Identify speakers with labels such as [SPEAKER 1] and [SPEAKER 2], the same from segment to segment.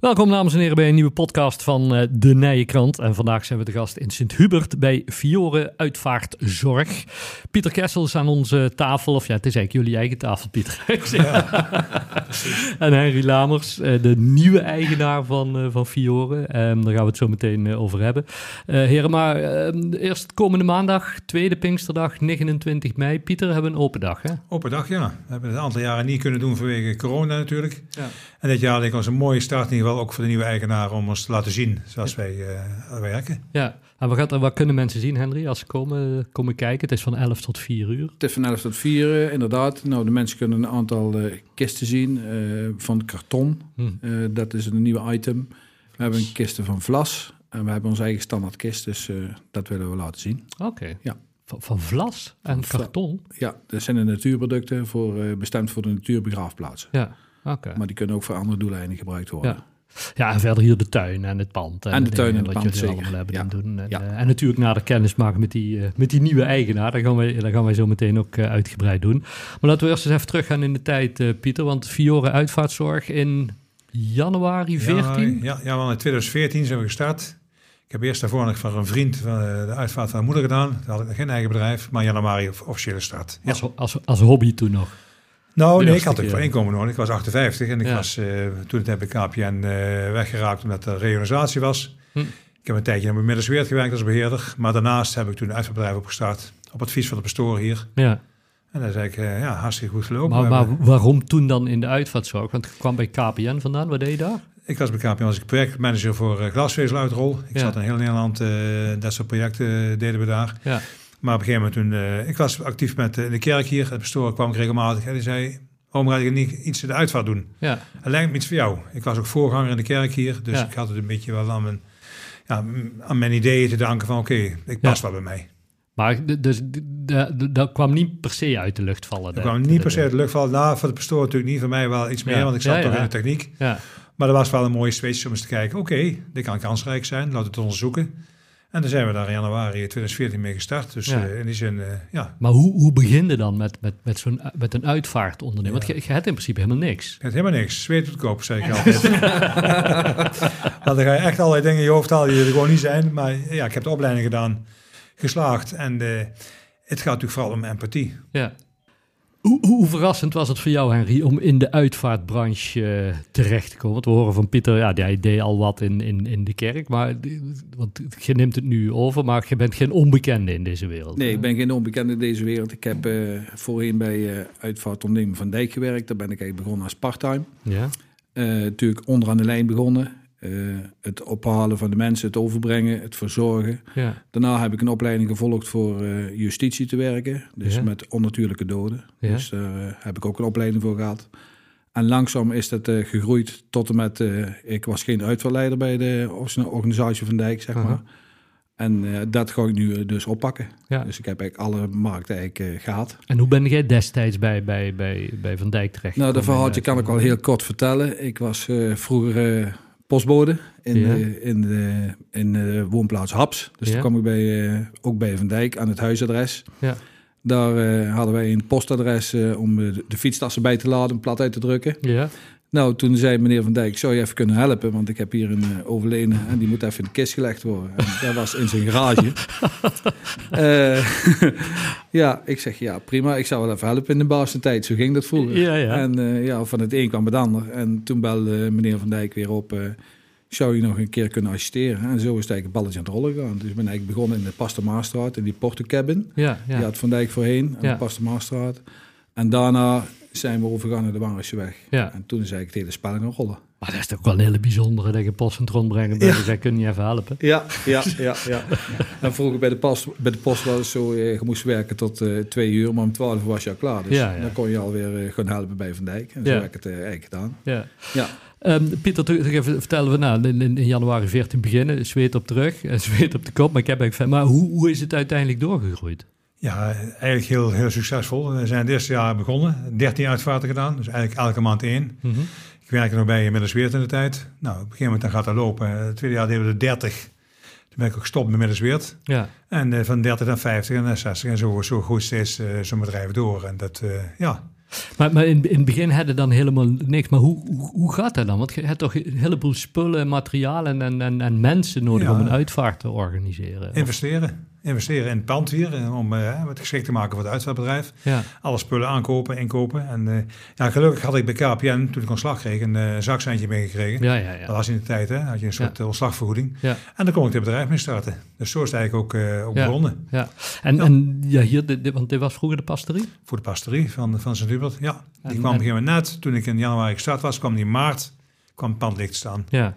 [SPEAKER 1] Welkom dames en heren bij een nieuwe podcast van eh, De Nije Krant. En vandaag zijn we de gast in Sint-Hubert bij Fiore Uitvaartzorg. Pieter Kessel is aan onze tafel, of ja, het is eigenlijk jullie eigen tafel, Pieter. Ik zeg- en Henry Lamers, eh, de nieuwe eigenaar van, eh, van Fiore. Ehm, daar gaan we het zo meteen eh, over hebben. Eh, heren, maar ehm, eerst komende maandag, tweede Pinksterdag, 29 mei. Pieter, hebben we een open dag, hè?
[SPEAKER 2] Open dag, ja. We hebben het een aantal jaren niet kunnen doen vanwege corona natuurlijk.
[SPEAKER 1] Ja.
[SPEAKER 2] En dit jaar leek ons een mooie start in ieder geval ook voor de nieuwe eigenaar om ons te laten zien zoals wij eh, werken.
[SPEAKER 1] Ja. En wat, gaat, wat kunnen mensen zien, Henry, als ze komen, eh, komen kijken? Het is van 11 tot 4 uur.
[SPEAKER 3] Het is van 11 tot 4, eh, inderdaad. Nou, de mensen kunnen een aantal eh, kisten zien eh, van karton.
[SPEAKER 1] Hm.
[SPEAKER 3] Eh, dat is een nieuw item. We hebben een kisten van vlas. En we hebben onze eigen standaard kist, dus eh, dat willen we laten zien.
[SPEAKER 1] Oké.
[SPEAKER 3] Ja.
[SPEAKER 1] Van, van vlas en
[SPEAKER 3] vla-
[SPEAKER 1] karton?
[SPEAKER 3] Ja, dat zijn de natuurproducten voor, eh, bestemd voor de natuurbegraafplaatsen.
[SPEAKER 1] Ja, oké.
[SPEAKER 3] Maar die kunnen ook voor andere doeleinden gebruikt worden.
[SPEAKER 1] Ja. Ja, en verder hier de tuin en het pand.
[SPEAKER 3] En de
[SPEAKER 1] dingen
[SPEAKER 3] tuin en het
[SPEAKER 1] wat
[SPEAKER 3] pand,
[SPEAKER 1] jullie
[SPEAKER 3] zeker.
[SPEAKER 1] allemaal hebben
[SPEAKER 3] Ja.
[SPEAKER 1] en doen. En,
[SPEAKER 3] Ja.
[SPEAKER 1] eh, en natuurlijk na de kennismaking met die, eh, met die nieuwe eigenaar. Dat gaan, wij, dat gaan wij zo meteen ook eh, uitgebreid doen. Maar laten we eerst eens even teruggaan in de tijd, eh, Pieter. Want Fiore Uitvaartzorg in januari 14.
[SPEAKER 2] Ja, ja, want in 2014 zijn we gestart. Ik heb eerst daarvoor nog van een vriend van, eh, de uitvaart van mijn moeder gedaan. Daar had ik nog geen eigen bedrijf, maar in januari of- officiële start. Ja.
[SPEAKER 1] Als, als, als hobby toen nog.
[SPEAKER 2] Nou, nee, ik
[SPEAKER 3] eerste
[SPEAKER 2] had ook
[SPEAKER 3] keer.
[SPEAKER 2] voor inkomen nodig. Ik was 58 en ik
[SPEAKER 1] eh, Ja.
[SPEAKER 2] was, eh, toen heb ik KPN eh, weggeraakt omdat er reorganisatie was.
[SPEAKER 1] Hm.
[SPEAKER 2] Ik heb een tijdje in mijn middensweert gewerkt als beheerder. Maar daarnaast heb ik toen een uitvaartbedrijf opgestart. Op advies van de pastoor hier.
[SPEAKER 1] Ja.
[SPEAKER 2] En dat is eigenlijk eh, ja, hartstikke goed gelopen.
[SPEAKER 1] Maar,
[SPEAKER 2] We
[SPEAKER 1] maar
[SPEAKER 2] hebben-
[SPEAKER 1] waarom toen dan in de uitvaartzorg? Want je kwam bij KPN vandaan. Wat deed je daar?
[SPEAKER 2] ik was bij KPN als ik projectmanager voor eh, glasvezeluitrol. Ik
[SPEAKER 1] Ja.
[SPEAKER 2] zat in heel Nederland, eh, dat soort projecten eh, deden we daar.
[SPEAKER 1] Ja.
[SPEAKER 2] Maar op een gegeven moment toen, eh, ik was actief met eh, de kerk hier. Het pastoor kwam ik regelmatig en die zei, waarom ga je niet iets in de uitvaart doen?
[SPEAKER 1] Ja.
[SPEAKER 2] Het lijkt me iets voor jou. Ik was ook voorganger in de kerk hier, dus
[SPEAKER 1] Ja.
[SPEAKER 2] ik had het een beetje wel aan mijn, ja, m- aan mijn ideeën te danken van oké, ik pas
[SPEAKER 1] Ja.
[SPEAKER 2] wel bij mij.
[SPEAKER 1] Maar d- dus, d- d- d- dat kwam niet per se uit de lucht vallen.
[SPEAKER 2] Ik
[SPEAKER 1] dat-
[SPEAKER 2] kwam niet
[SPEAKER 1] dat-
[SPEAKER 2] per se uit de lucht vallen. Nou, voor de pastoor natuurlijk niet, voor mij wel iets meer,
[SPEAKER 1] Ja.
[SPEAKER 2] want ik zat
[SPEAKER 1] Ja,
[SPEAKER 2] toch
[SPEAKER 1] ja.
[SPEAKER 2] in de techniek.
[SPEAKER 1] Ja,
[SPEAKER 2] Maar dat was wel een mooie switch om eens te kijken, oké, dit kan kansrijk zijn, laten we het onderzoeken. En dan zijn we daar in januari 2014 mee gestart. Dus
[SPEAKER 1] Ja.
[SPEAKER 2] eh, in die zin, eh, ja,
[SPEAKER 1] maar hoe, hoe begin je dan met, met, met, zo'n, met een uitvaartondernemer?
[SPEAKER 2] Ja.
[SPEAKER 1] Want je, je hebt in principe helemaal niks.
[SPEAKER 2] het is helemaal niks. Zweet het koop, zeg ik altijd. Want dan ga je echt allerlei dingen in je hoofd halen die er gewoon niet zijn. Maar ja, ik heb de opleiding gedaan, geslaagd. En eh, het gaat natuurlijk vooral om empathie.
[SPEAKER 1] Ja. Hoe, hoe, hoe verrassend was het voor jou, Henry, om in de uitvaartbranche eh, terecht te komen? Want we horen van Pieter, ja, hij deed al wat in, in, in de kerk. Maar die- want je neemt het nu over, maar je bent geen onbekende in deze wereld.
[SPEAKER 3] Nee, ik ben geen onbekende in deze wereld. Ik heb eh, voorheen bij eh uitvaartondernemer Van Dijk gewerkt. Daar ben ik eigenlijk begonnen als parttime.
[SPEAKER 1] Ja?
[SPEAKER 3] Eh, natuurlijk onderaan de lijn begonnen. Eh, het ophalen van de mensen, het overbrengen, het verzorgen.
[SPEAKER 1] Ja,
[SPEAKER 3] Daarna heb ik een opleiding gevolgd voor eh, justitie te werken. Dus
[SPEAKER 1] Ja.
[SPEAKER 3] met onnatuurlijke doden.
[SPEAKER 1] Ja.
[SPEAKER 3] Dus daar eh, heb ik ook een opleiding voor gehad. En langzaam is dat eh, gegroeid tot en met... eh, ik was geen uitvaartleider bij de orga- organisatie Van Dijk, zeg
[SPEAKER 1] Aha.
[SPEAKER 3] maar. En eh, dat ga ik nu eh, dus oppakken.
[SPEAKER 1] ja.
[SPEAKER 3] Dus ik heb eigenlijk alle markten eigenlijk, eh, gehad.
[SPEAKER 1] En hoe ben jij destijds bij, bij, bij, bij Van Dijk terecht?
[SPEAKER 3] Nou, dat
[SPEAKER 1] gekomen?
[SPEAKER 3] verhaaltje kan ik wel heel kort vertellen. Ik was eh, vroeger eh, postbode in,
[SPEAKER 1] Ja.
[SPEAKER 3] de, in, de, in de woonplaats Haps. Dus
[SPEAKER 1] Ja.
[SPEAKER 3] toen kwam ik bij, eh, ook bij Van Dijk aan het huisadres.
[SPEAKER 1] Ja.
[SPEAKER 3] Daar eh, hadden wij een postadres eh, om eh, de, de fietstassen bij te laden, om plat uit te drukken.
[SPEAKER 1] Ja,
[SPEAKER 3] Nou, toen zei meneer Van Dijk, zou je even kunnen helpen? Want ik heb hier een eh, overledene en die moet even in de kist gelegd worden. En dat was in zijn garage. Eh, ja, ik zeg, ja prima, ik zou wel even helpen in de baasentijd. tijd. Zo ging dat vroeger.
[SPEAKER 1] Ja, ja.
[SPEAKER 3] En eh, ja, van het een kwam het ander. En toen belde eh, meneer Van Dijk weer op, eh, zou je nog een keer kunnen assisteren? En zo is het eigenlijk een balletje aan het rollen gegaan. Dus ik ben eigenlijk begonnen in de Pastor Maastraat, in die Porto Cabin.
[SPEAKER 1] ja, ja.
[SPEAKER 3] Die had Van Dijk voorheen, aan
[SPEAKER 1] Ja.
[SPEAKER 3] de Pastor Maastraat. En daarna zijn we overgegaan naar de Wangerseweg.
[SPEAKER 1] ja.
[SPEAKER 3] En toen is eigenlijk het hele spel gaan rollen.
[SPEAKER 1] Maar dat is toch wel een hele bijzondere dat je post en tron brengt. Dat je zegt, kun je even helpen?
[SPEAKER 3] Ja, ja, ja, ja. en vroeger bij de, post, bij de post was het zo, eh, je moest werken tot eh, twee uur, maar om twaalf uur was je al klaar. Dus
[SPEAKER 1] Ja, ja.
[SPEAKER 3] dan kon je alweer eh, gaan helpen bij Van Dijk. En zo
[SPEAKER 1] Ja.
[SPEAKER 3] heb ik het eh, eigenlijk gedaan.
[SPEAKER 1] Ja.
[SPEAKER 3] Ja.
[SPEAKER 1] Ehm, Pieter, toen toen even vertellen we, nou, in, in in januari 14 beginnen, zweet op de rug, eh, zweet op de kop. Maar, ik heb eigenlijk, van- maar hoe, hoe is het uiteindelijk doorgegroeid?
[SPEAKER 2] Ja, eigenlijk heel, heel succesvol. We zijn het eerste jaar begonnen, 13 uitvaarten gedaan, dus eigenlijk elke maand één.
[SPEAKER 1] Mhm.
[SPEAKER 2] Ik werkte nog bij inmiddels weer in de tijd. Nou, op een gegeven moment dan gaat dat lopen. Het tweede jaar deden we er 30. ben ik ook gestopt met Middelsweert.
[SPEAKER 1] Ja.
[SPEAKER 2] En eh, van 30 naar 50 en naar 60 en zo, zo groeit steeds eh, zo'n bedrijf door. En dat, eh, ja,
[SPEAKER 1] Maar, maar in, in het begin hadden dan helemaal niks. Maar hoe, hoe, hoe gaat dat dan? Want je hebt toch een heleboel spullen, materialen en, en, en mensen nodig
[SPEAKER 2] Ja.
[SPEAKER 1] om een uitvaart te organiseren.
[SPEAKER 2] investeren. Investeren in het pand hier, eh, om eh, het geschikt te maken voor het uitvaartbedrijf.
[SPEAKER 1] ja.
[SPEAKER 2] alle spullen aankopen, inkopen. En eh, ja, gelukkig had ik bij KPN, toen ik ontslag kreeg, een eh zakcentje meegekregen.
[SPEAKER 1] ja, ja, ja.
[SPEAKER 2] Dat was in de tijd, hè? had je een soort eh, ontslagvergoeding.
[SPEAKER 1] Ja.
[SPEAKER 2] En dan kon ik dit bedrijf mee starten. Dus zo is het eigenlijk ook, eh ook
[SPEAKER 1] Ja.
[SPEAKER 2] begonnen.
[SPEAKER 1] Ja, en ja, en, ja hier, dit, dit- want dit was vroeger de pastorie.
[SPEAKER 2] Voor de pastorie van, van Sint-Hubert. Ja, die
[SPEAKER 1] En-
[SPEAKER 2] kwam
[SPEAKER 1] en-
[SPEAKER 2] op een gegeven moment net. Toen ik in januari gestart was, kwam die in maart. kwam het pand licht te staan.
[SPEAKER 1] Ja,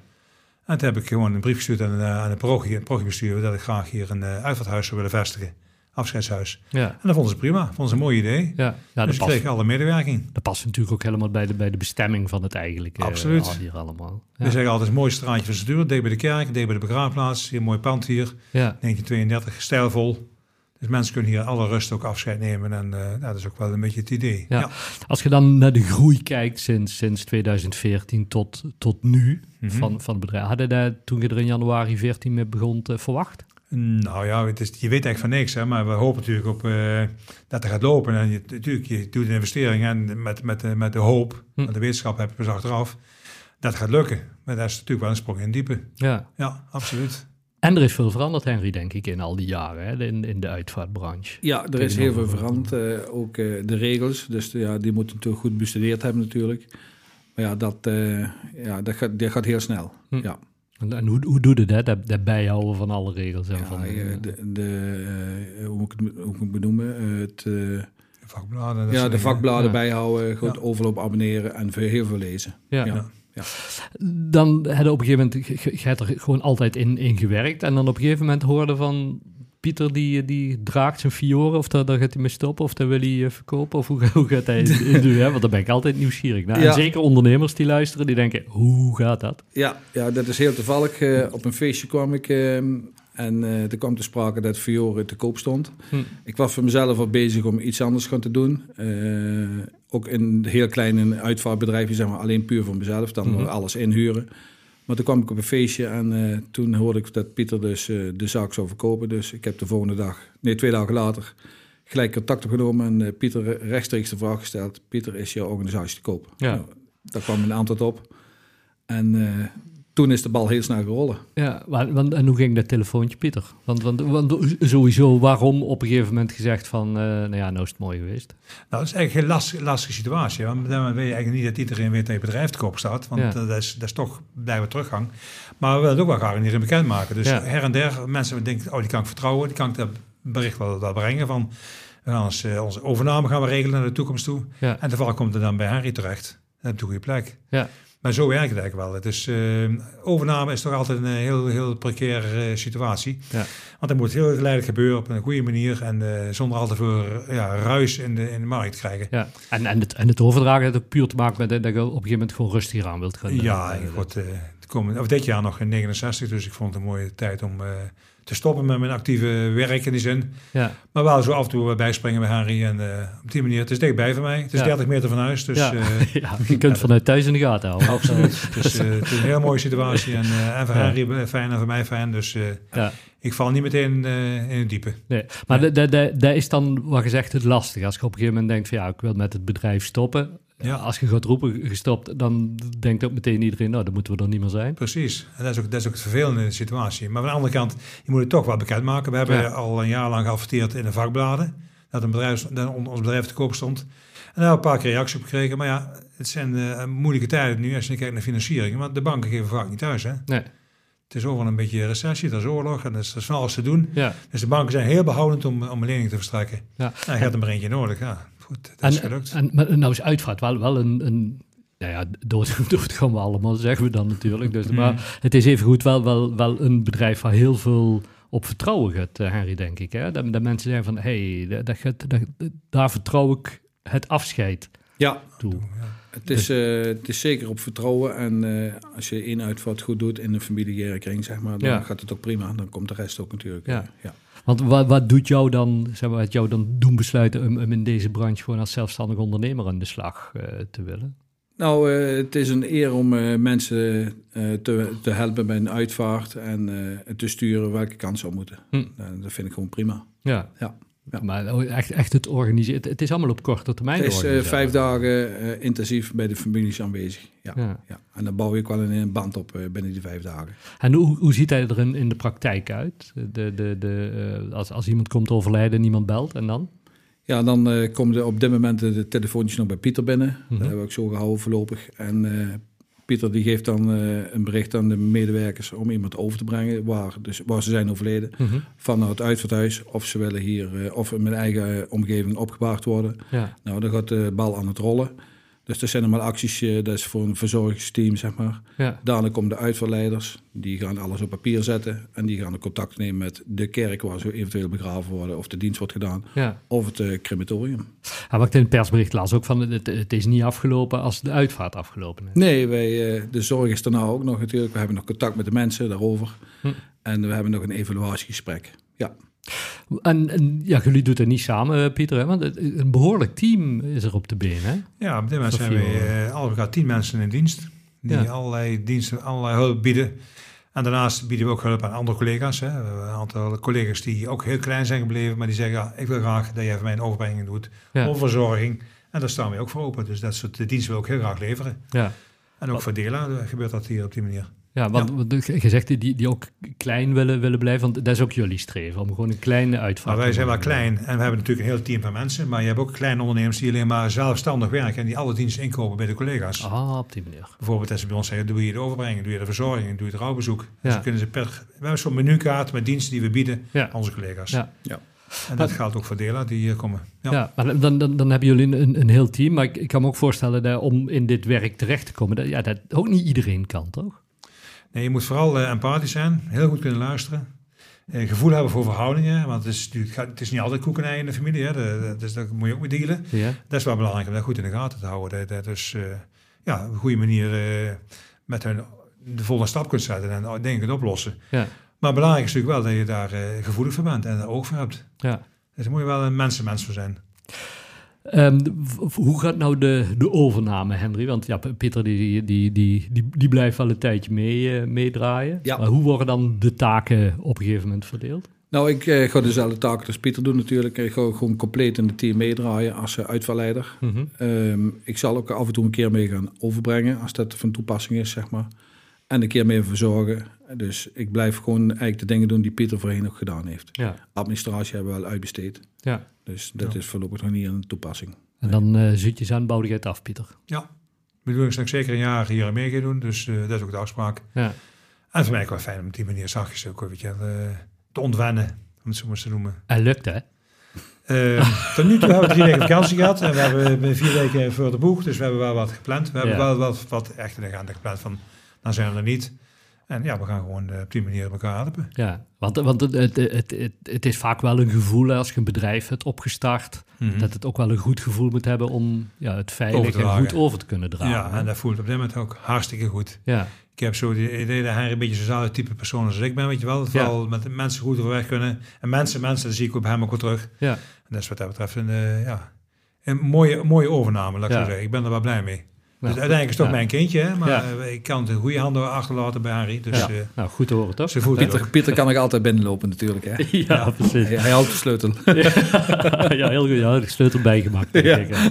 [SPEAKER 2] En toen heb ik gewoon een brief gestuurd aan, eh, aan de parochie, het parochiebestuur... dat ik graag hier een eh uitvaarthuis zou willen vestigen. Afscheidshuis.
[SPEAKER 1] ja,
[SPEAKER 2] En dat vonden ze prima. Vonden ze een mooi idee.
[SPEAKER 1] ja. ja
[SPEAKER 2] dus
[SPEAKER 1] dat,
[SPEAKER 2] ik
[SPEAKER 1] past,
[SPEAKER 2] kreeg alle medewerking.
[SPEAKER 1] dat past natuurlijk ook helemaal bij de, bij de bestemming van het eigenlijke. eh,
[SPEAKER 2] Absoluut. Dus, eh,
[SPEAKER 1] al hier allemaal.
[SPEAKER 2] We
[SPEAKER 1] Ja,
[SPEAKER 2] zeggen altijd, mooi straatje van Seduur, deed bij de kerk, deed bij de begraafplaats, hier een mooi pand hier,
[SPEAKER 1] ja,
[SPEAKER 2] 1932, stijlvol. Dus mensen kunnen hier alle rust ook afscheid nemen en eh, nou, dat is ook wel een beetje het idee.
[SPEAKER 1] ja. Als je dan naar de groei kijkt sinds, sinds 2014 tot, tot nu
[SPEAKER 2] Mhm.
[SPEAKER 1] van, van het bedrijf. Hadden daar toen je er in januari 14 mee begon eh, verwacht?
[SPEAKER 2] Nou ja, het is, je weet eigenlijk van niks, hè, maar we hopen natuurlijk op eh, dat het gaat lopen. En je, natuurlijk, je doet een investering en met, met, de- met de hoop,
[SPEAKER 1] Hm.
[SPEAKER 2] want de wetenschap heb je pas achteraf, dat gaat lukken. Maar dat is natuurlijk wel een sprong in het diepe.
[SPEAKER 1] Ja.
[SPEAKER 2] Ja, absoluut.
[SPEAKER 1] En er is veel veranderd, Henry, denk ik, in al die jaren hè, in, in de uitvaartbranche.
[SPEAKER 3] Ja, er is heel veel veranderd. eh, ook eh, de regels, dus ja, die moeten natuurlijk goed bestudeerd hebben natuurlijk. Maar ja, dat, eh, ja, dat, gaat, dat gaat heel snel.
[SPEAKER 1] Hm.
[SPEAKER 3] Ja.
[SPEAKER 1] En, en hoe, hoe doe je dat, dat, dat bijhouden van alle regels? En van,
[SPEAKER 3] Ja,
[SPEAKER 1] eh,
[SPEAKER 3] eh, de, de, eh, hoe moet ik het hoe moet ik het benoemen? Eh, Het, eh,
[SPEAKER 2] De vakbladen. dat
[SPEAKER 3] ja,
[SPEAKER 2] soort
[SPEAKER 3] de
[SPEAKER 2] dingen.
[SPEAKER 3] vakbladen
[SPEAKER 1] Ja.
[SPEAKER 3] bijhouden, goed
[SPEAKER 2] Ja.
[SPEAKER 3] overloop abonneren en veel, heel veel lezen.
[SPEAKER 1] ja.
[SPEAKER 3] Ja.
[SPEAKER 1] dan hadden op een gegeven moment, je- je je hebt er gewoon altijd in, in gewerkt. En dan op een gegeven moment hoorde van Pieter, die, die draagt zijn Fiore, of daar, daar gaat hij mee stoppen, of daar wil hij eh, verkopen. Of hoe, hoe gaat hij het doen? Hè? Want daar ben ik altijd nieuwsgierig naar.
[SPEAKER 3] Ja.
[SPEAKER 1] En zeker ondernemers die luisteren, die denken, hoe gaat dat?
[SPEAKER 3] Ja, ja, dat is heel toevallig. Eh, op een feestje kwam ik eh, en eh er kwam te sprake dat Fiore te koop stond.
[SPEAKER 1] Hm.
[SPEAKER 3] Ik was voor mezelf al bezig om iets anders gaan te doen. Eh, ook in een heel klein uitvaartbedrijfje, zeg maar, alleen puur voor mezelf. Dan
[SPEAKER 1] Mhm.
[SPEAKER 3] alles inhuren. Maar toen kwam ik op een feestje en eh, toen hoorde ik dat Pieter dus eh, de zaak zou verkopen. Dus ik heb de volgende dag, nee twee dagen later, gelijk contact opgenomen en eh, Pieter rechtstreeks de vraag gesteld. Pieter, is jouw organisatie te koop?
[SPEAKER 1] Ja.
[SPEAKER 3] Nou, daar kwam een antwoord op. En eh, toen is de bal heel snel gerollen.
[SPEAKER 1] Ja, wa- want, en hoe ging dat telefoontje, Pieter? Want, want, want sowieso, waarom op een gegeven moment gezegd van, eh, nou ja, nou is het mooi geweest.
[SPEAKER 2] Nou, dat is eigenlijk een lastige, lastige situatie. hè. Want dan weet je eigenlijk niet dat iedereen weer tegen bedrijf te koop staat. Want
[SPEAKER 1] Ja.
[SPEAKER 2] eh, dat, is, dat is toch blijven teruggang. Maar we willen het ook wel graag aan iedereen bekendmaken. Dus
[SPEAKER 1] Ja.
[SPEAKER 2] her en der, mensen denken, oh, die kan ik vertrouwen. Die kan ik dat bericht wel, wel brengen van... we gaan ons, eh, onze overname gaan we regelen naar de toekomst toe.
[SPEAKER 1] Ja.
[SPEAKER 2] En toevallig komt het dan bij Henry terecht. Dat is een goede plek.
[SPEAKER 1] Ja.
[SPEAKER 2] Maar zo werkt het eigenlijk wel. Het is, eh, overname is toch altijd een eh, heel, heel precaire eh, situatie.
[SPEAKER 1] Ja.
[SPEAKER 2] Want dat moet heel geleidelijk gebeuren op een goede manier. En eh, zonder al te veel ja, ruis in de, in de markt te krijgen.
[SPEAKER 1] Ja, en, en, het, en het overdragen heeft ook puur te maken met dat je op een gegeven moment gewoon rustig aan wilt gaan. doen.
[SPEAKER 2] Ja, ik word eh, de komende, of dit jaar nog in 69, dus ik vond het een mooie tijd om eh, te stoppen met mijn actieve werk in die zin.
[SPEAKER 1] ja.
[SPEAKER 2] Maar wel zo af en toe wat bijspringen bij Harry en eh, op die manier. Het is dichtbij van mij, het is
[SPEAKER 1] Ja.
[SPEAKER 2] 30 meter van huis, dus
[SPEAKER 1] ja.
[SPEAKER 2] eh,
[SPEAKER 1] ja, je kunt vanuit thuis in de gaten houden. Absoluut.
[SPEAKER 2] het, is, eh, het is een heel mooie situatie. En, eh, en voor
[SPEAKER 1] Ja.
[SPEAKER 2] Harry fijn en voor mij fijn, dus eh,
[SPEAKER 1] Ja,
[SPEAKER 2] ik val niet meteen eh, in het diepe.
[SPEAKER 1] nee. Maar dat- dat- dat- dat is dan, wat je zegt, het lastig. Als je op een gegeven moment denkt van ja, ik wil met het bedrijf stoppen.
[SPEAKER 2] Ja.
[SPEAKER 1] Als je gaat roepen gestopt, dan denkt ook meteen iedereen, nou, dan moeten we er niet meer zijn.
[SPEAKER 2] Precies, en dat is, ook, dat is ook het vervelende in de situatie. Maar aan de andere kant, je moet het toch wel bekendmaken. We hebben
[SPEAKER 1] Ja.
[SPEAKER 2] al een jaar lang geadverteerd in de vakbladen dat, een bedrijf, dat on- ons bedrijf te koop stond. En daar hebben we een paar keer reacties op gekregen. Maar ja, het zijn eh, moeilijke tijden nu als je kijkt naar financiering. Want de banken geven vaak niet thuis. Hè?
[SPEAKER 1] Nee,
[SPEAKER 2] Het is overal een beetje recessie, er is oorlog en er is van alles te doen.
[SPEAKER 1] ja.
[SPEAKER 2] Dus de banken zijn heel behoudend om, om een lening te verstrekken.
[SPEAKER 1] ja.
[SPEAKER 2] Nou, je hebt er maar eentje nodig. Ja, goed, dat is
[SPEAKER 1] En,
[SPEAKER 2] gelukt.
[SPEAKER 1] en, maar nou is uitvaart wel, wel een... een nou ja, dood, dood gaan we allemaal, zeggen we dan natuurlijk. Dus, Maar het is evengoed wel, wel, wel een bedrijf waar heel veel op vertrouwen gaat, eh, Henry, denk ik. Hè? Dat, dat mensen zeggen van, hé, hey, dat, gaat- dat, daar vertrouw ik het afscheid
[SPEAKER 3] Ja,
[SPEAKER 1] toe.
[SPEAKER 3] het is, eh, het is zeker op vertrouwen. En eh, als je één uitvaart goed doet in een familiaire kring, zeg maar, dan
[SPEAKER 1] Ja.
[SPEAKER 3] gaat het ook prima. Dan komt de rest ook natuurlijk.
[SPEAKER 1] Ja.
[SPEAKER 3] eh, ja.
[SPEAKER 1] Want wat, wat doet jou dan, zeg maar, wat jou dan doen besluiten om, om in deze branche gewoon als zelfstandig ondernemer aan de slag eh, te willen?
[SPEAKER 3] Nou, eh, het is een eer om eh, mensen eh, te, te helpen bij een uitvaart en eh, te sturen welke kant zou moeten.
[SPEAKER 1] Hm.
[SPEAKER 3] Nou, dat vind ik gewoon prima.
[SPEAKER 1] Ja.
[SPEAKER 3] Ja. Ja.
[SPEAKER 1] Maar oh, echt, echt het organiseren. Het, het is allemaal op korte termijn.
[SPEAKER 3] Het is eh,
[SPEAKER 1] organiseren.
[SPEAKER 3] vijf dagen eh, intensief bij de families aanwezig. Ja. Ja.
[SPEAKER 1] Ja.
[SPEAKER 3] En dan bouw je ook wel een, een band op eh, binnen die vijf dagen.
[SPEAKER 1] En hoe, hoe ziet hij er in, in de praktijk uit? De, de, de, eh, als, als iemand komt overlijden en niemand belt en dan?
[SPEAKER 3] Ja, dan eh, komen de, op dit moment de, de telefoontjes nog bij Pieter binnen. Dat hebben we ook zo gehouden voorlopig. En eh, Pieter die geeft dan eh, een bericht aan de medewerkers om iemand over te brengen waar, dus, waar ze zijn overleden.
[SPEAKER 1] Mhm.
[SPEAKER 3] Vanuit het uitvaarthuis of ze willen hier eh, of in mijn eigen eh, omgeving opgebaard worden.
[SPEAKER 1] Ja.
[SPEAKER 3] Nou, dan gaat de bal aan het rollen. Dus dat zijn allemaal acties, eh, dat is voor een verzorgingsteam, zeg maar.
[SPEAKER 1] Ja.
[SPEAKER 3] Daarna komen de uitvaartleiders, die gaan alles op papier zetten. En die gaan contact nemen met de kerk waar ze eventueel begraven worden, of de dienst wordt gedaan,
[SPEAKER 1] Ja.
[SPEAKER 3] of het eh, crematorium.
[SPEAKER 1] ja, wat ik in het persbericht las ook van, het, het is niet afgelopen als de uitvaart afgelopen is.
[SPEAKER 3] Nee, wij, eh, de zorg is daarna ook nog natuurlijk. We hebben nog contact met de mensen daarover.
[SPEAKER 1] Hm.
[SPEAKER 3] En we hebben nog een evaluatiegesprek. Ja,
[SPEAKER 1] En, en ja, jullie doen het niet samen, eh, Pieter, hè? want het- een behoorlijk team is er op de been, hè?
[SPEAKER 2] Ja, op dit moment
[SPEAKER 1] Zo
[SPEAKER 2] zijn we
[SPEAKER 1] viel, eh,
[SPEAKER 2] eh, al elkaar tien mensen in dienst. Die
[SPEAKER 1] Ja.
[SPEAKER 2] allerlei diensten, allerlei hulp bieden. En daarnaast bieden we ook hulp aan andere collega's. Hè. We hebben een aantal collega's die ook heel klein zijn gebleven. Maar die zeggen, ja, ik wil graag dat jij voor mij een overbrenging doet.
[SPEAKER 1] Ja.
[SPEAKER 2] Of verzorging. En daar staan we ook voor open. Dus dat soort eh, diensten wil ik heel graag leveren.
[SPEAKER 1] Ja.
[SPEAKER 2] En
[SPEAKER 1] Oh.
[SPEAKER 2] ook voor Dela gebeurt dat hier op die manier.
[SPEAKER 1] Ja, want want je zegt die, die ook klein willen, willen blijven, want dat is ook jullie streven, om gewoon een kleine uitvaart
[SPEAKER 2] Maar wij
[SPEAKER 1] te
[SPEAKER 2] zijn wel
[SPEAKER 1] maken.
[SPEAKER 2] klein en we hebben natuurlijk een heel team van mensen. Maar je hebt ook kleine ondernemers die alleen maar zelfstandig werken. En die alle diensten inkopen bij de collega's.
[SPEAKER 1] Ah, op die manier.
[SPEAKER 2] Bijvoorbeeld als ze bij ons zeggen, doe je de overbrenging, doe je de verzorging, doe je het rouwbezoek.
[SPEAKER 1] Ja.
[SPEAKER 2] Dus dan kunnen ze per, we hebben zo'n menukaart met diensten die we bieden
[SPEAKER 1] Ja.
[SPEAKER 2] aan onze collega's.
[SPEAKER 1] Ja.
[SPEAKER 3] Ja.
[SPEAKER 2] En dat geldt ook voor Dela die hier komen. Ja.
[SPEAKER 1] Ja, maar dan, dan, dan hebben jullie een, een heel team. Maar ik, ik kan me ook voorstellen dat om in dit werk terecht te komen, dat, ja, dat ook niet iedereen kan, toch?
[SPEAKER 2] Nee, je moet vooral eh, empathisch zijn, heel goed kunnen luisteren. Eh, gevoel hebben voor verhoudingen, want het is, natuurlijk- het gaat- het is niet altijd koekenij in de familie. Hè. De- de- dus daar moet je ook mee dealen.
[SPEAKER 1] Ja.
[SPEAKER 2] Dat is wel belangrijk om dat goed in de gaten te houden. Dat, dat dus eh, ja, op een goede manier eh, met hun de volgende stap kunt zetten en oh, dingen kunt oplossen.
[SPEAKER 1] Ja.
[SPEAKER 2] Maar belangrijk is natuurlijk wel dat je daar eh, gevoelig voor bent en er oog voor hebt.
[SPEAKER 1] ja.
[SPEAKER 2] Dus daar moet je wel een mensenmens voor zijn.
[SPEAKER 1] Ehm, v- v- hoe gaat nou de, de overname, Henry? Want ja, P- Pieter die, die, die, die, die, die blijft wel een tijdje mee, eh, meedraaien.
[SPEAKER 3] Ja.
[SPEAKER 1] Maar hoe worden dan de taken op een gegeven moment verdeeld?
[SPEAKER 3] Nou, ik eh, ga dezelfde taken als Pieter doen natuurlijk. Ik ga gewoon compleet in het team meedraaien als eh, uitvaartleider.
[SPEAKER 1] Mhm.
[SPEAKER 3] Ehm, ik zal ook af en toe een keer mee gaan overbrengen als dat van toepassing is, zeg maar. En een keer mee verzorgen. Dus ik blijf gewoon eigenlijk de dingen doen die Pieter voorheen ook gedaan heeft.
[SPEAKER 1] Ja.
[SPEAKER 3] Administratie hebben we wel uitbesteed.
[SPEAKER 1] ja.
[SPEAKER 3] Dus dat
[SPEAKER 2] Ja.
[SPEAKER 3] is voorlopig nog niet een toepassing.
[SPEAKER 1] En dan eh zit je zijn bouwdigheid af, Pieter.
[SPEAKER 2] Ja. We doen nog zeker een jaar hier aan mee gaan doen, dus eh, dat is ook de afspraak.
[SPEAKER 1] Ja.
[SPEAKER 2] En voor mij ook wel fijn om op die manier zachtjes ook een beetje eh, te ontwennen, om het zo maar eens te noemen.
[SPEAKER 1] En lukt, hè?
[SPEAKER 2] Eh, tot nu toe hebben we drie weken vakantie gehad en we hebben vier weken voor de boeg, dus we hebben wel wat gepland. We hebben
[SPEAKER 1] Ja.
[SPEAKER 2] wel wat, wat echt in de gaten gepland van, dan zijn we er niet. En ja, we gaan gewoon eh, op die manier elkaar helpen.
[SPEAKER 1] Ja, want, want het, het, het, het, het is vaak wel een gevoel hè, als je een bedrijf hebt opgestart, dat het ook wel een goed gevoel moet hebben om ja, het
[SPEAKER 2] Hm. Over
[SPEAKER 1] veilig
[SPEAKER 2] te
[SPEAKER 1] en
[SPEAKER 2] dragen.
[SPEAKER 1] goed over te kunnen dragen.
[SPEAKER 2] Ja,
[SPEAKER 1] hè?
[SPEAKER 2] en dat voelt op dit moment ook hartstikke goed.
[SPEAKER 1] ja,
[SPEAKER 2] Ik heb zo het idee dat hij een beetje zo'n type persoon is als ik ben, weet je wel. Dat we
[SPEAKER 1] Ja.
[SPEAKER 2] al met de mensen goed overweg kunnen. En mensen, mensen, dat zie ik op hem ook wel terug.
[SPEAKER 1] ja.
[SPEAKER 2] En dat is wat dat betreft een, eh, ja, een mooie, mooie overname, laat ik
[SPEAKER 1] Ja.
[SPEAKER 2] zo zeggen. Ik ben er wel blij mee.
[SPEAKER 1] Nou,
[SPEAKER 2] dus uiteindelijk is het toch
[SPEAKER 1] ja.
[SPEAKER 2] mijn kindje, hè? maar
[SPEAKER 1] Ja.
[SPEAKER 2] eh, ik kan het in goede handen achterlaten bij Harry. Dus
[SPEAKER 1] Ja.
[SPEAKER 2] eh,
[SPEAKER 1] nou, goed te horen toch?
[SPEAKER 2] ze voelt het ook.
[SPEAKER 3] Pieter, Pieter kan nog altijd binnenlopen natuurlijk, hè.
[SPEAKER 1] Ja, precies.
[SPEAKER 3] Hij, hij houdt de sleutel.
[SPEAKER 1] ja, heel goed. Ja, de sleutel bijgemaakt. Denk ik, ja.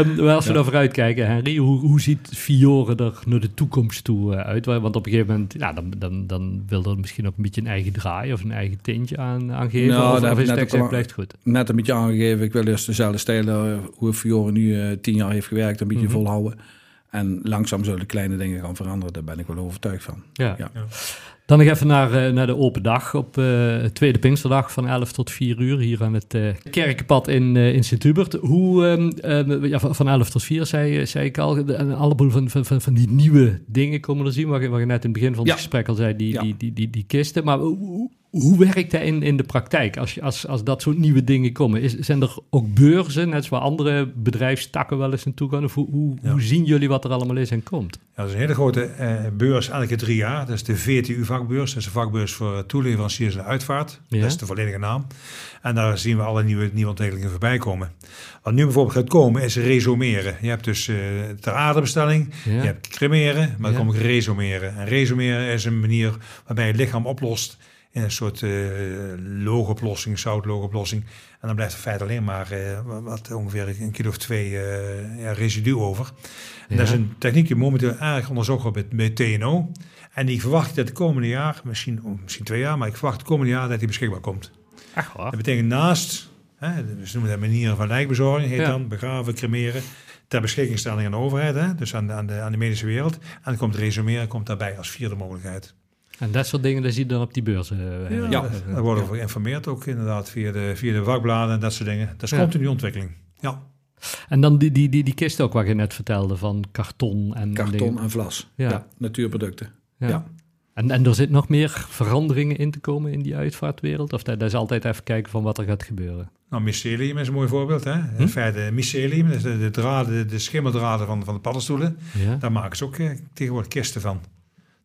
[SPEAKER 1] Ehm, maar als we naar vooruit kijken, Henry, hoe, hoe ziet Fiore er naar de toekomst toe eh, uit? Want op een gegeven moment, ja, dan, dan, dan wil er misschien ook een beetje een eigen draai of een eigen tintje aan, aan geven.
[SPEAKER 3] Nou,
[SPEAKER 1] of,
[SPEAKER 3] daar
[SPEAKER 1] of
[SPEAKER 3] heb
[SPEAKER 1] is het
[SPEAKER 3] ik net
[SPEAKER 1] echt,
[SPEAKER 3] ook
[SPEAKER 1] het
[SPEAKER 3] al-
[SPEAKER 1] blijft goed.
[SPEAKER 3] Net een beetje aangegeven, ik wil eerst dezelfde stijl, eh, hoe Fiore nu eh, tien jaar heeft gewerkt, een beetje volhouden. En langzaam zullen de kleine dingen gaan veranderen, daar ben ik wel overtuigd van.
[SPEAKER 1] Ja.
[SPEAKER 3] Ja.
[SPEAKER 1] Dan nog even naar, eh, naar de open dag op eh tweede Pinksterdag van 11 tot 4 uur hier aan het eh, Kerkenpad in, eh, in Sint-Hubert. Hoe, ehm, ehm, ja, van van 11 tot 4 zei, eh, zei ik al, de- een heleboel van, van, van, van die nieuwe dingen komen er zien, waar je, waar je net in het begin van het
[SPEAKER 3] Ja.
[SPEAKER 1] gesprek al zei, die,
[SPEAKER 3] Ja.
[SPEAKER 1] die, die, die, die kisten. Maar hoe, hoe- Hoe werkt dat in, in de praktijk als, je- als, als dat soort nieuwe dingen komen? Is, zijn er ook beurzen, net zoals andere bedrijfstakken wel eens naartoe gaan? Of hoe, hoe,
[SPEAKER 2] Ja.
[SPEAKER 1] hoe zien jullie wat er allemaal is en komt?
[SPEAKER 2] Ja, dat is een hele grote eh, beurs, elke drie jaar. Dat is de VTU-vakbeurs. Dat is een vakbeurs voor eh, toeleveranciers en uitvaart.
[SPEAKER 1] Ja.
[SPEAKER 2] Dat is de volledige naam. En daar zien we alle nieuwe, nieuwe ontwikkelingen voorbij komen. Wat nu bijvoorbeeld gaat komen, is resumeren. Je hebt dus eh ter aardebestelling,
[SPEAKER 1] Ja.
[SPEAKER 2] je hebt cremeren, maar dan
[SPEAKER 1] Ja.
[SPEAKER 2] kom ik resumeren. En resumeren is een manier waarbij je het lichaam oplost in een soort eh loogoplossing, zoutloogoplossing. En dan blijft er feit alleen maar eh, wat- wat, ongeveer een kilo of twee eh, ja, residu over. En Dat is
[SPEAKER 1] Ja.
[SPEAKER 2] een techniek die momenteel erg onderzocht wordt bij, bij TNO. En ik verwacht dat het komende jaar, misschien, oh, misschien twee jaar, maar ik verwacht het komende jaar dat die beschikbaar komt.
[SPEAKER 1] Echt waar?
[SPEAKER 2] Dat betekent naast, hè, dus ze noemen dat manieren van lijkbezorging, heet
[SPEAKER 1] Ja.
[SPEAKER 2] dan begraven, cremeren, ter beschikkingstelling aan de overheid, hè, dus aan, de- aan, de, aan de medische wereld. En dan komt resumeren komt daarbij als vierde mogelijkheid.
[SPEAKER 1] En dat soort dingen, dat zie je dan op die beurzen. eh,
[SPEAKER 3] Ja.
[SPEAKER 2] Daar daar worden we voor geïnformeerd ook inderdaad via de, via de vakbladen en dat soort dingen. Dat is
[SPEAKER 1] Ja.
[SPEAKER 2] continu ontwikkeling. Ja.
[SPEAKER 1] En dan die, die, die, die kist ook, wat je net vertelde, van karton en
[SPEAKER 3] Karton
[SPEAKER 1] dingen.
[SPEAKER 3] en vlas.
[SPEAKER 1] Ja.
[SPEAKER 3] Ja. natuurproducten.
[SPEAKER 1] Ja.
[SPEAKER 3] ja.
[SPEAKER 1] En, en er zit nog meer veranderingen in te komen in die uitvaartwereld? Of dat, dat is altijd even kijken van wat er gaat gebeuren?
[SPEAKER 2] Nou, mycelium is een mooi voorbeeld. Hè?
[SPEAKER 1] Hm?
[SPEAKER 2] In feite, mycelium, dat is de, de, draden, de schimmeldraden van, van de paddenstoelen,
[SPEAKER 1] Ja.
[SPEAKER 2] daar maken ze ook eh, tegenwoordig kisten van.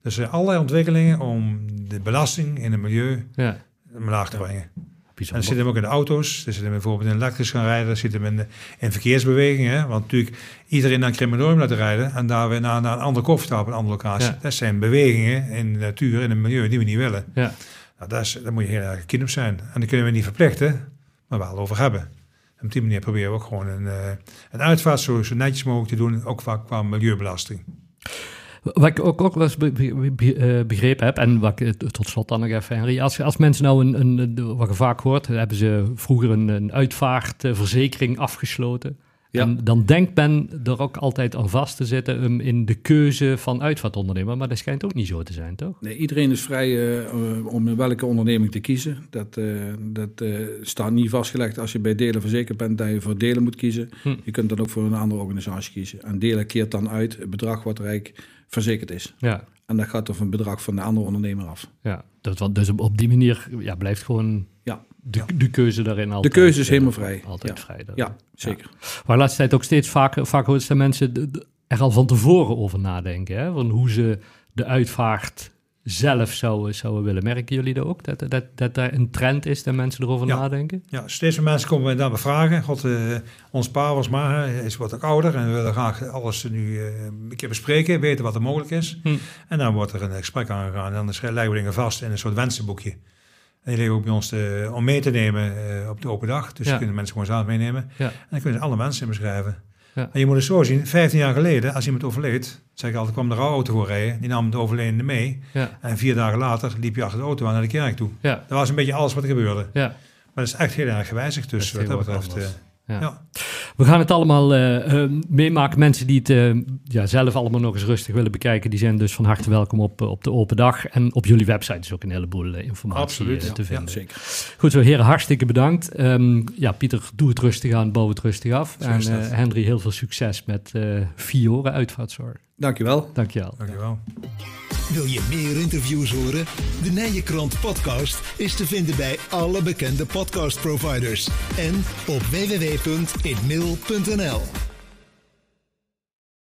[SPEAKER 2] Dus eh, allerlei ontwikkelingen om de belasting in het milieu
[SPEAKER 1] ja.
[SPEAKER 2] omlaag te brengen. En dat
[SPEAKER 1] Bijzonder.
[SPEAKER 2] zit hem ook in de auto's, dat zit hem bijvoorbeeld in elektrisch gaan rijden, dat zit hem in, de- in verkeersbewegingen. Want natuurlijk, iedereen naar een crematorium laten rijden en daar weer naar, naar een andere koffertafel, een andere locatie.
[SPEAKER 1] Ja.
[SPEAKER 2] Dat zijn bewegingen in de natuur, in het milieu, die we niet willen.
[SPEAKER 1] Ja.
[SPEAKER 2] Nou, daar, is, daar moet je heel erg kind op zijn. En daar kunnen we niet verplichten, maar wel over hebben. En op die manier proberen we ook gewoon een, eh, een uitvaart zo, zo netjes mogelijk te doen, ook qua, qua milieubelasting.
[SPEAKER 1] Wat ik ook, ook wel eens be- be- be- eh, begrepen heb, en wat ik eh, tot slot dan nog even, Henry. Als, als mensen nou, een, een, een- wat je vaak hoort, dan hebben ze vroeger een, een uitvaartverzekering afgesloten.
[SPEAKER 3] Ja.
[SPEAKER 1] En dan denkt men er ook altijd aan vast te zitten um, in de keuze van uitvaartondernemer. Maar dat schijnt ook niet zo te zijn, toch?
[SPEAKER 3] Nee, iedereen is vrij eh, om in welke onderneming te kiezen. Dat, eh, dat eh, staat niet vastgelegd als je bij delen verzekerd bent dat je voor delen moet kiezen.
[SPEAKER 1] Hm.
[SPEAKER 3] Je kunt dan ook voor een andere organisatie kiezen. En delen keert dan uit het bedrag wat rijk verzekerd is.
[SPEAKER 1] Ja,
[SPEAKER 3] En dat gaat of een bedrag van de andere ondernemer af.
[SPEAKER 1] ja. Dat, want dus op, op die manier ja, blijft gewoon
[SPEAKER 3] Ja.
[SPEAKER 1] de, de keuze daarin altijd.
[SPEAKER 3] keuze is
[SPEAKER 1] eh,
[SPEAKER 3] helemaal vrij.
[SPEAKER 1] Altijd
[SPEAKER 3] Ja.
[SPEAKER 1] vrij. dat-
[SPEAKER 3] Ja, zeker.
[SPEAKER 1] Maar de laatste tijd ook steeds vaker, vaak hoort zijn mensen de- de- er al van tevoren over nadenken. Hè? Van hoe ze de uitvaart zelf zouden, zouden willen. Merken jullie dat ook? Dat, dat, dat daar een trend is dat mensen erover
[SPEAKER 2] Ja.
[SPEAKER 1] nadenken?
[SPEAKER 2] Ja, steeds meer mensen komen mij daarbij vragen. God, eh, ons pa was maar, hij is wat ook ouder en we willen graag alles nu eh, een keer bespreken, weten wat er mogelijk is.
[SPEAKER 1] Hm.
[SPEAKER 2] En dan wordt er een gesprek aangegaan en dan schrijven- leggen we dingen vast in een soort wensenboekje. En die liggen ook bij ons eh, om mee te nemen eh, op de open dag. Dus
[SPEAKER 1] Ja.
[SPEAKER 2] die kunnen mensen gewoon zelf meenemen.
[SPEAKER 1] Ja.
[SPEAKER 2] En dan kunnen ze alle mensen in beschrijven.
[SPEAKER 1] Ja.
[SPEAKER 2] En je moet het zo zien, 15 jaar geleden, als iemand overleed, zeg ik altijd, kwam de rouwauto voor rijden. Die nam de overledene mee.
[SPEAKER 1] Ja,
[SPEAKER 2] En vier dagen later liep je achter de auto aan naar de kerk toe.
[SPEAKER 1] ja,
[SPEAKER 2] Dat was een beetje alles wat er gebeurde.
[SPEAKER 1] ja.
[SPEAKER 2] Maar dat is echt heel erg gewijzigd. Dus
[SPEAKER 1] Dat is
[SPEAKER 2] wat dat
[SPEAKER 1] heel wat
[SPEAKER 2] betreft.
[SPEAKER 1] anders.
[SPEAKER 2] eh,
[SPEAKER 1] Ja.
[SPEAKER 2] ja.
[SPEAKER 1] We gaan het allemaal eh, eh, meemaken. Mensen die het eh, ja, zelf allemaal nog eens rustig willen bekijken, die zijn dus van harte welkom op, eh, op de open dag. En op jullie website is ook een heleboel eh, informatie
[SPEAKER 2] Absoluut,
[SPEAKER 1] eh,
[SPEAKER 2] ja,
[SPEAKER 1] te
[SPEAKER 2] ja,
[SPEAKER 1] vinden.
[SPEAKER 3] Zeker.
[SPEAKER 1] Goed zo, heren, hartstikke bedankt. Ehm, ja, Pieter, doe het rustig aan, bouw het rustig af.
[SPEAKER 2] Zo
[SPEAKER 1] en
[SPEAKER 2] is dat.
[SPEAKER 1] eh, Henry, heel veel succes met eh Fiore Uitvaartzorg.
[SPEAKER 3] Dankjewel.
[SPEAKER 1] Dankjewel.
[SPEAKER 2] dankjewel.
[SPEAKER 4] Wil je meer interviews horen? De Nijenkrant podcast is te vinden bij alle bekende podcastproviders en op www.inmail.nl.